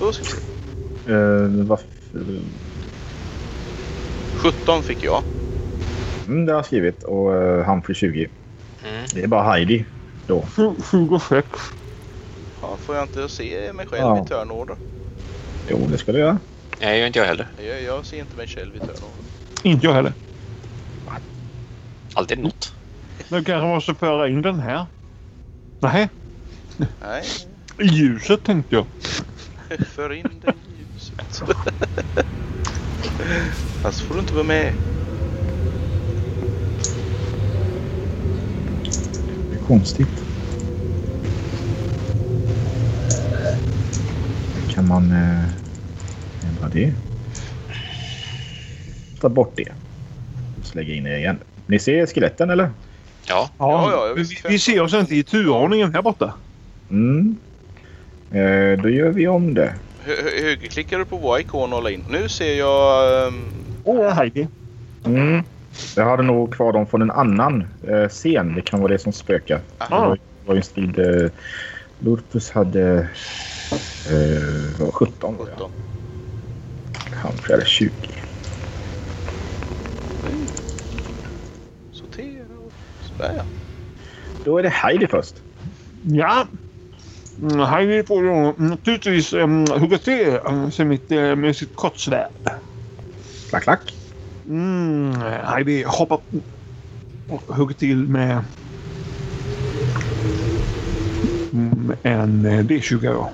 Då ska vi se. Eh, varför... 17 fick jag. Mm, det har jag skrivit. Och eh, Humphrey 20. Mm. Det är bara Heidi då. Tju- 26. Ja, får jag inte se mig själv Ja. i turnorder? Jo, det ska du göra. Nej, gör inte jag heller. Jag, jag ser inte mig själv i Törnån. Inte jag heller. Alltid något. Du kanske måste föra in den här? Nej, Nej, i ljuset tänkte jag. för in den i ljuset. Fast får du inte vara med. Det är konstigt. Kan man eh, ändra det? Ta bort det. Så lägger jag in det igen. Ni ser skeletten eller? Ja, Ja, ja, jag vi, visste. vi ser oss inte i turordningen här borta. Mm. Eh, då gör vi om det. Hö- hö- Högerklickar du på vår ikon och håller in. Nu ser jag... ehm, Åh, oh, Heidi. Mm. Jag hade nog kvar dem från en annan eh, scen. Det kan vara det som spökar. Det var, Ah. det var ju en strid... Eh, Lurpus hade... Eh, vad var 17 var det? 17. Kanske, eller 20. Sortera och sådär ja. Då är det Heidi först. Ja. Mm, Heidi får ju naturligtvis um, hugga till mm, sig mitt, eh, med sitt kortsvärd. Klack, klack. Mm, Heidi hoppar och hugger till med mm, en eh, D20. ja.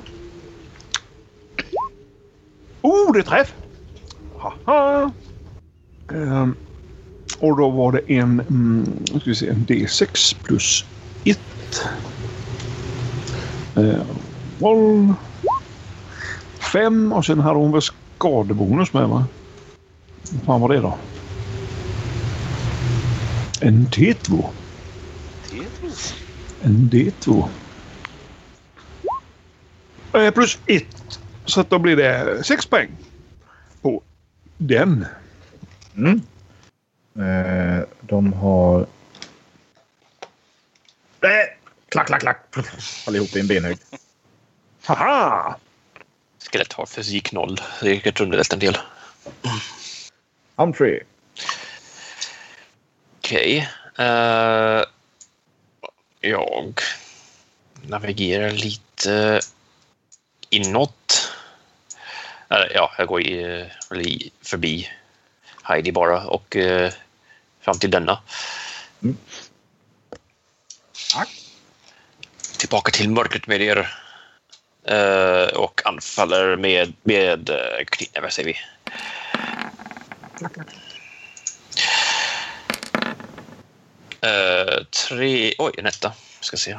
Oh, det är träff! Haha! Ehm, och då var det en, mm, nu ska vi se, en D6 plus 1. Ehm, roll. 5 och sen hade hon väl skadebonus med va? Vad fan var det då? En T2. Tetris. En D2. Eh, Plus ett. Så att då blir det sex poäng. På den. Mm. Eh, de har... Nej! Klack, klack, klack! Allihop i en benhög. Haha! skelett har fysik noll. Det gick underlättar en del. Humphrey. Okej. eh, jag navigerar lite inåt. Eller, ja, jag går i, eller i, förbi Heidi bara och eh, fram till denna. Tack. Tillbaka till mörkret med er. Eh, och anfaller med, med eh, knytnäve, säger vi. Eh, tre... Oj, en etta. Ska se.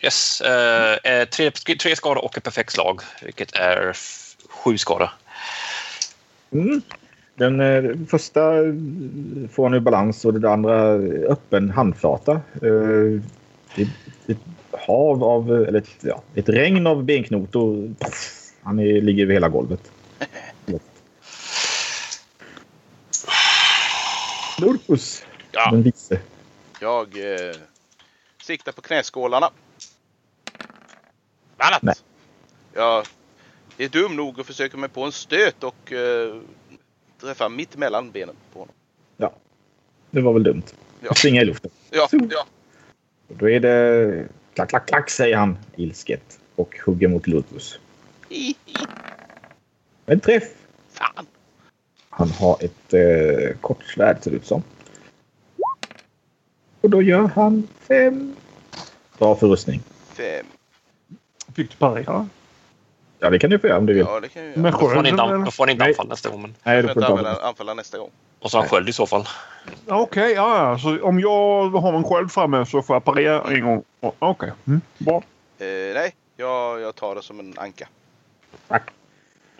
Yes. eh, eh, tre, tre skada och ett perfekt slag, vilket är f- sju skada. Mm. Den eh, första eh, får nu balans och den andra eh, öppen handflata. Eh, det, det är ett hav av, eh, eller ett, ja, ett regn av benknotor. Paff! Han är, ligger över hela golvet. Lurpus, Ja. den vise. Jag eh, siktar på knäskålarna. Annat. Nej. Jag är dum nog och försöker mig på en stöt och eh, träffa mitt mellan benen på honom. Ja, det var väl dumt. Ja. Svinga i luften. Ja, Så. ja. Och Då är det klack, klack, klack, säger han ilsket och hugger mot Lurpus. I, i, En träff! fan. Han har ett eh, kortsvärd ser det ut som. Och då gör han fem. Bra för rustning. Fem. Fick du parera? Ja, det kan du få göra om du vill. Ja, det kan jag göra. Med Då får han skölden? inte, an- eller? då får han inte Nej. anfall nästa gång. Men, Nej, Jag du får får inte inte ha använda, anfalla nästa gång. och så har han sköld i så fall. Ja, Okej, ja, ja. Så om jag har en sköld framme så får jag parera en gång. Ja, Okej. Mm. Bra. Eh, nej, jag, jag tar det som en anka. Det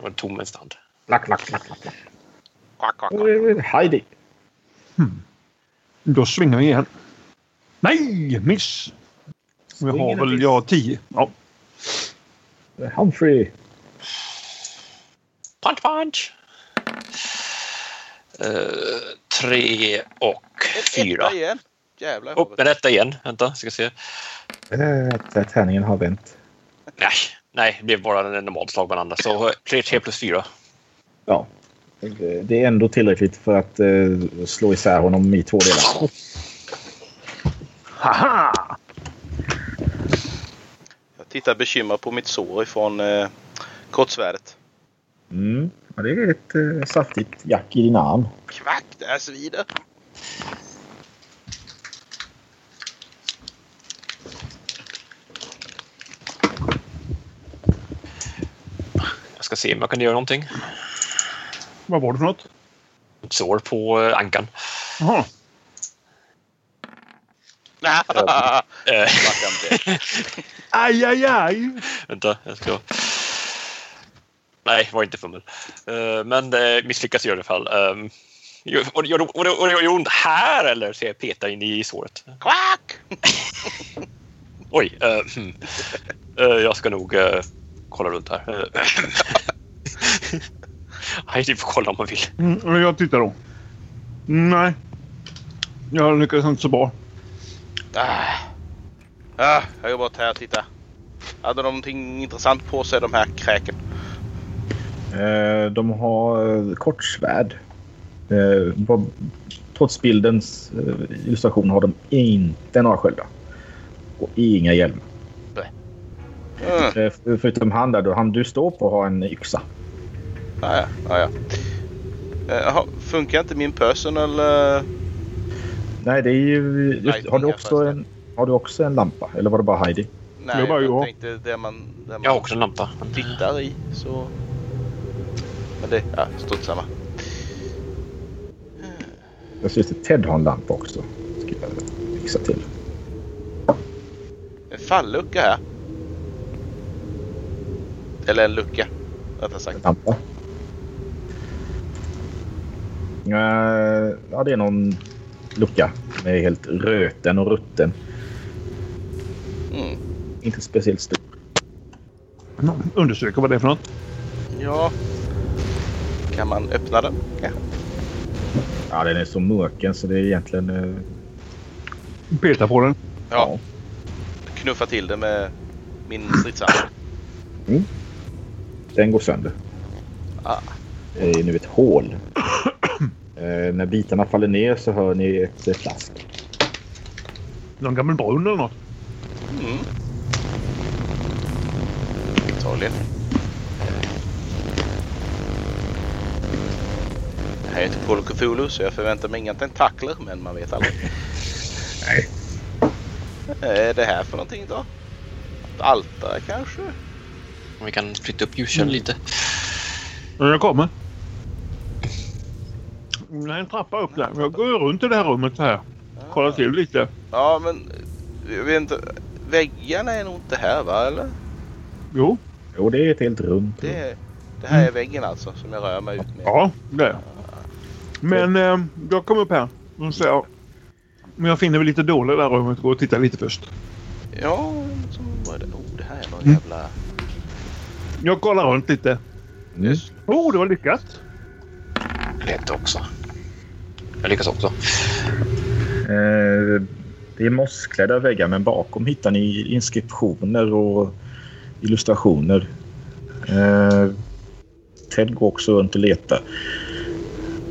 var en tom en stand. Klack, klack, klack, klack, klack. Kvack, kvack, Och kvack. det är Heidi. Då svingar vi igen. Nej! Miss! Vi har Springer väl, miss. ja, tio. Ja. Humphrey. Punch, punch! Eh, tre och fyra. Etta igen. Jävlar. Upp med detta igen. Vänta, ska se. Äh, tärningen har vänt. Nej, nej, det blev bara en normalt slag bland andra. Så eh, tre, tre plus fyra. Ja. Det är ändå tillräckligt för att eh, slå isär honom i två delar. Haha! Jag tittar bekymrat på mitt sår ifrån eh, kortsvärdet. Mm. Ja, det är ett eh, saftigt jack i din arm. Kvack, det här svider. Jag ska se om jag kan göra någonting. Vad var det för något? Ett sår på eh, ankan. Jaha. Eh, Stackarn blev. Aj, aj, aj! Vänta, jag ska... Nej, var inte fummel. Eh, men det misslyckas i alla fall. Eh, gör, och det gör, och det- och det gör ont här eller? Så jag petar in i såret. Kvack! Oj. eh, hmm. Eh, jag ska nog eh, kolla runt här. Eh, Nej, du får kolla om man vill. Mm, men jag tittar då. Mm, Nej. Jag lyckades inte så bra. Ah. Ah, jag går bort här och tittar. Hade de någonting intressant på sig de här kräken? Eh, de har eh, kortsvärd. Eh, på, trots bildens eh, illustration har de inte några sköldar. Och inga hjälmar. Mm. Eh, för- förutom han där då. Han du står på har en yxa. Ah, ja, ah, ja. Eh, jaha, funkar inte min personal... eh, Nej, det är ju... Just, har, du Lightning, också en, har du också en lampa? Eller var det bara Heidi? nej, Jag bara, jag ja. tänkte det man, det man Jag har också en lampa. tittar i. Så... Men det, ja, strunt samma. Jag ser att Ted har en lampa också. Ska jag fixa till. En fallucka här. Eller en lucka, rättare sagt. Lampa. Eh, ja, det är någon lucka. Den är helt röten och rutten. Mm. Inte speciellt stor. Undersöka vad det är för något. Ja. Kan man öppna den? Ja. Ja, den är så mörken så det är egentligen... eh, Peta på den. ja. Knuffa till den med min stridsarm. Den går sönder. Ah. Det är nu ett hål. eh, när bitarna faller ner så hör ni ett eh, plask. Någon gammal brunn eller något. Mm. Antagligen. Det här är inte Call of Cthulhu så jag förväntar mig inga tentakler men man vet aldrig. Nej. Är det här för någonting då? Ett altare kanske? Om vi kan flytta upp ljuskällan lite. Ja, Jag kommer. Det är en trappa upp där. Jag går runt i det här rummet så här. Kollar till lite. Ja men jag vet inte. Väggarna är nog inte här va eller? Jo. Jo, det är ett helt runt. Det, är- det här är väggen alltså som jag rör mig ut med. Ja, det är Men eh, jag kom upp här. Och så jag, men jag finner väl lite dåligt det här rummet. Gå och titta lite först. Ja, så var det. Oh, det här är någon Mm. jävla... Jag kollar runt lite. Mm. Oh, det var lyckat. Lite också. Jag lyckas också. Eh, det är mossklädda väggar men bakom hittar ni inskriptioner och illustrationer. Eh, Ted går också runt och letar.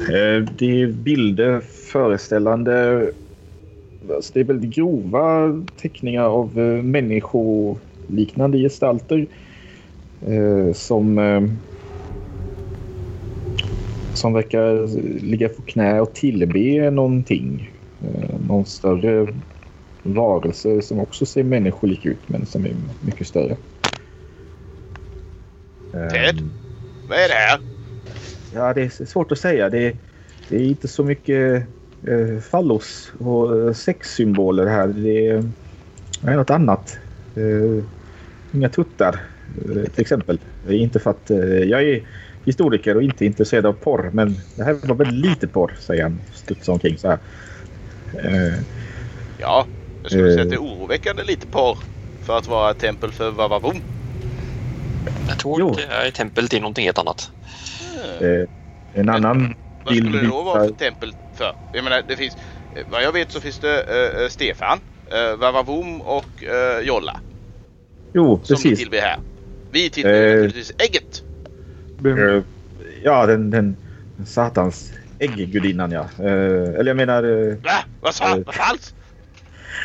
Eh, det är bilder föreställande... Alltså det är väldigt grova teckningar av eh, människoliknande gestalter. Eh, som... Eh, som verkar ligga på knä och tillbe någonting. Eh, någon större varelse som också ser människolik ut men som är mycket större. Ted? Eh, Vad är det här? Ja, det är svårt att säga. Det är, det är inte så mycket eh, fallos och eh, sexsymboler här. Det är, det är något annat. Eh, inga tuttar, eh, till exempel. Det är Inte för att, eh, jag är historiker och inte intresserad av porr, men det här var väl lite porr, säger han. Studsar omkring så här. Eh, Ja, jag skulle säga Eh. att det är oroväckande lite porr för att vara ett tempel för Vavavoom. Jag tror Jo. att det är tempel till någonting helt annat. eh, en annan Vad skulle det då vara för visar- tempel för? Jag menar, det finns... eh, Vad jag vet så finns det eh, eh, Stefan, eh, Vavavoom och eh, Jolla Jo, som vi precis. tillber här. Vi tillber Eh. naturligtvis ägget. Mm. Vem- Eh, Ja, den, den satans ägggudinnan, ja. Eh, Eller jag menar... eh, Va? Vad sa Eh. Vad falskt?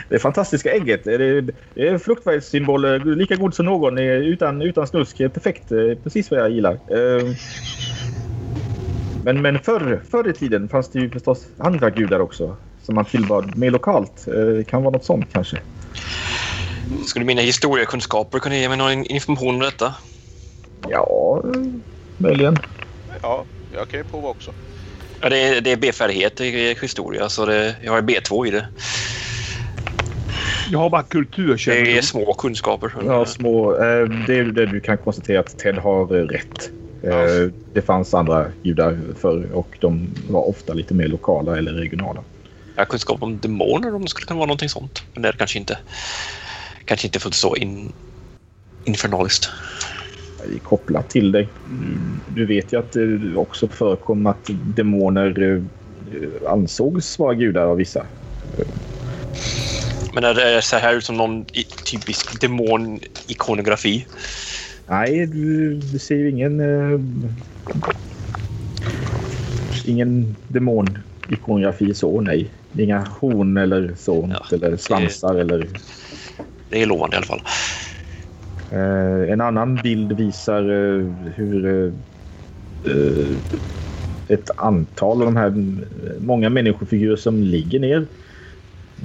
Det fantastiska ägget. Det är, det är fruktvärdsymbol, eh, lika god som någon, eh, utan, utan snusk. Eh, Perfekt, eh, precis vad jag gillar. Eh, Men, men förr, förr i tiden fanns det ju förstås andra gudar också som man tillbad mer lokalt. Eh, Det kan vara något sånt kanske. Skulle mina historiekunskaper kunna ge mig någon in- information om detta? Ja, eh, möjligen. Ja, jag kan ju prova också. Ja, det, är, det är B-färdighet i historia, så det, jag har B2 i det. Jag har bara Det är kulturkännedom. små kunskaper. Ja, små, eh, det är det du kan konstatera att Ted har eh, rätt. Eh, Det fanns andra gudar förr och de var ofta lite mer lokala eller regionala. Jag har kunskap om demoner om det skulle kunna vara någonting sånt. Men det är det kanske inte. Kanske inte fullt så in, infernaliskt. är kopplat till dig. Du vet ju att det också förekom att demoner eh, ansågs vara gudar av vissa. Men är det så här ut som någon i- typisk demon-ikonografi? Nej, du, du ser ju ingen... Eh, ingen demon-ikonografi så, nej. Inga horn eller så, Ja, eller svansar eller... Det är lovande i alla fall. Eh, en annan bild visar eh, hur eh, eh, ett antal av de här eh, många människofigurer som ligger ner.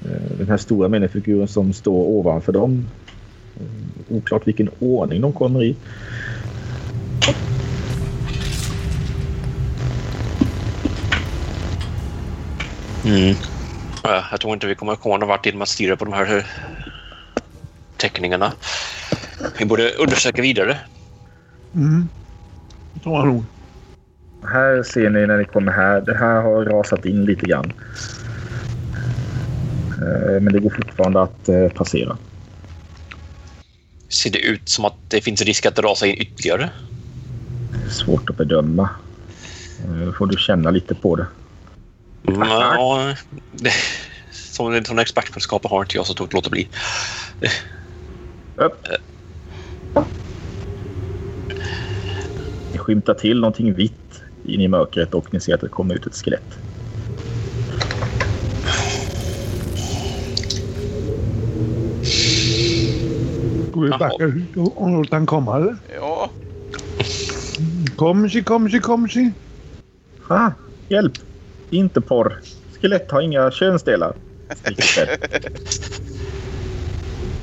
Eh, den här stora människofiguren som står ovanför dem. Eh, oklart vilken ordning de kommer i. Ja, Jag tror inte vi kommer komma någon vart genom att stirra på de här eh, teckningarna. Vi borde undersöka vidare. Mm. Det tror jag nog. Här ser ni när ni kommer här. Det här har rasat in lite grann. Eh, men det går fortfarande att eh, passera. Ser det ut som att det finns risk att det rasar in ytterligare? Svårt att bedöma. Eh, får du känna lite på det. Mm, Ja, det, som, som expertkunskaper har inte jag så tog låta bli. Upp. Ni skymtar till någonting vitt in i mörkret och ni ser att det kommer ut ett skelett. Ska vi Jaha. backa ut och och låta han komma eller? Ja, Kom si, kom si, kom si. Ah, hjälp! Inte porr. Skelett har inga könsdelar. Skriker Ted.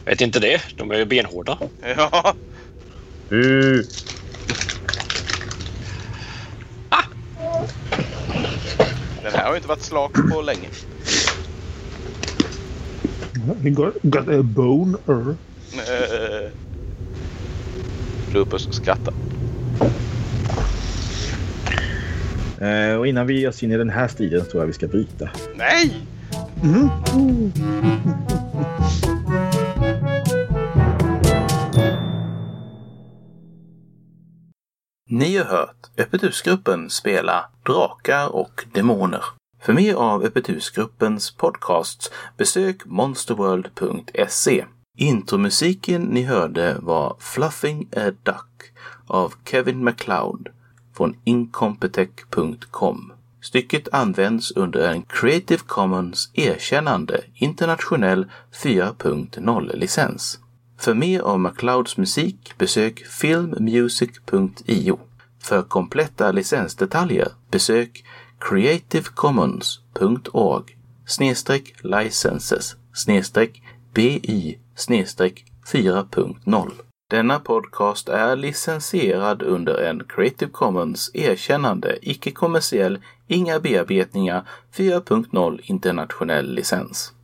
Vet inte det. De är ju benhårda. ja. Uh, Den här har ju inte varit slak på länge. He got, got a boner. Eh. Lupus skrattar. eh, och innan vi ger oss in i den här striden så tror jag vi ska bryta. Nej! Mm. Ni har hört Öppet husgruppen spela Drakar och Demoner. För mer av Öppet husgruppens podcasts besök monsterworld.se. Intromusiken ni hörde var Fluffing a Duck av Kevin MacLeod från incompetech.com. Stycket används under en Creative Commons erkännande internationell 4.0-licens. För mer om MacLeods musik besök filmmusic.io. För kompletta licensdetaljer besök creativecommons.org snedstreck licenses snedstreck bi snedstreck 4.0. Denna podcast är licensierad under en Creative Commons erkännande icke-kommersiell, inga bearbetningar 4.0 internationell licens.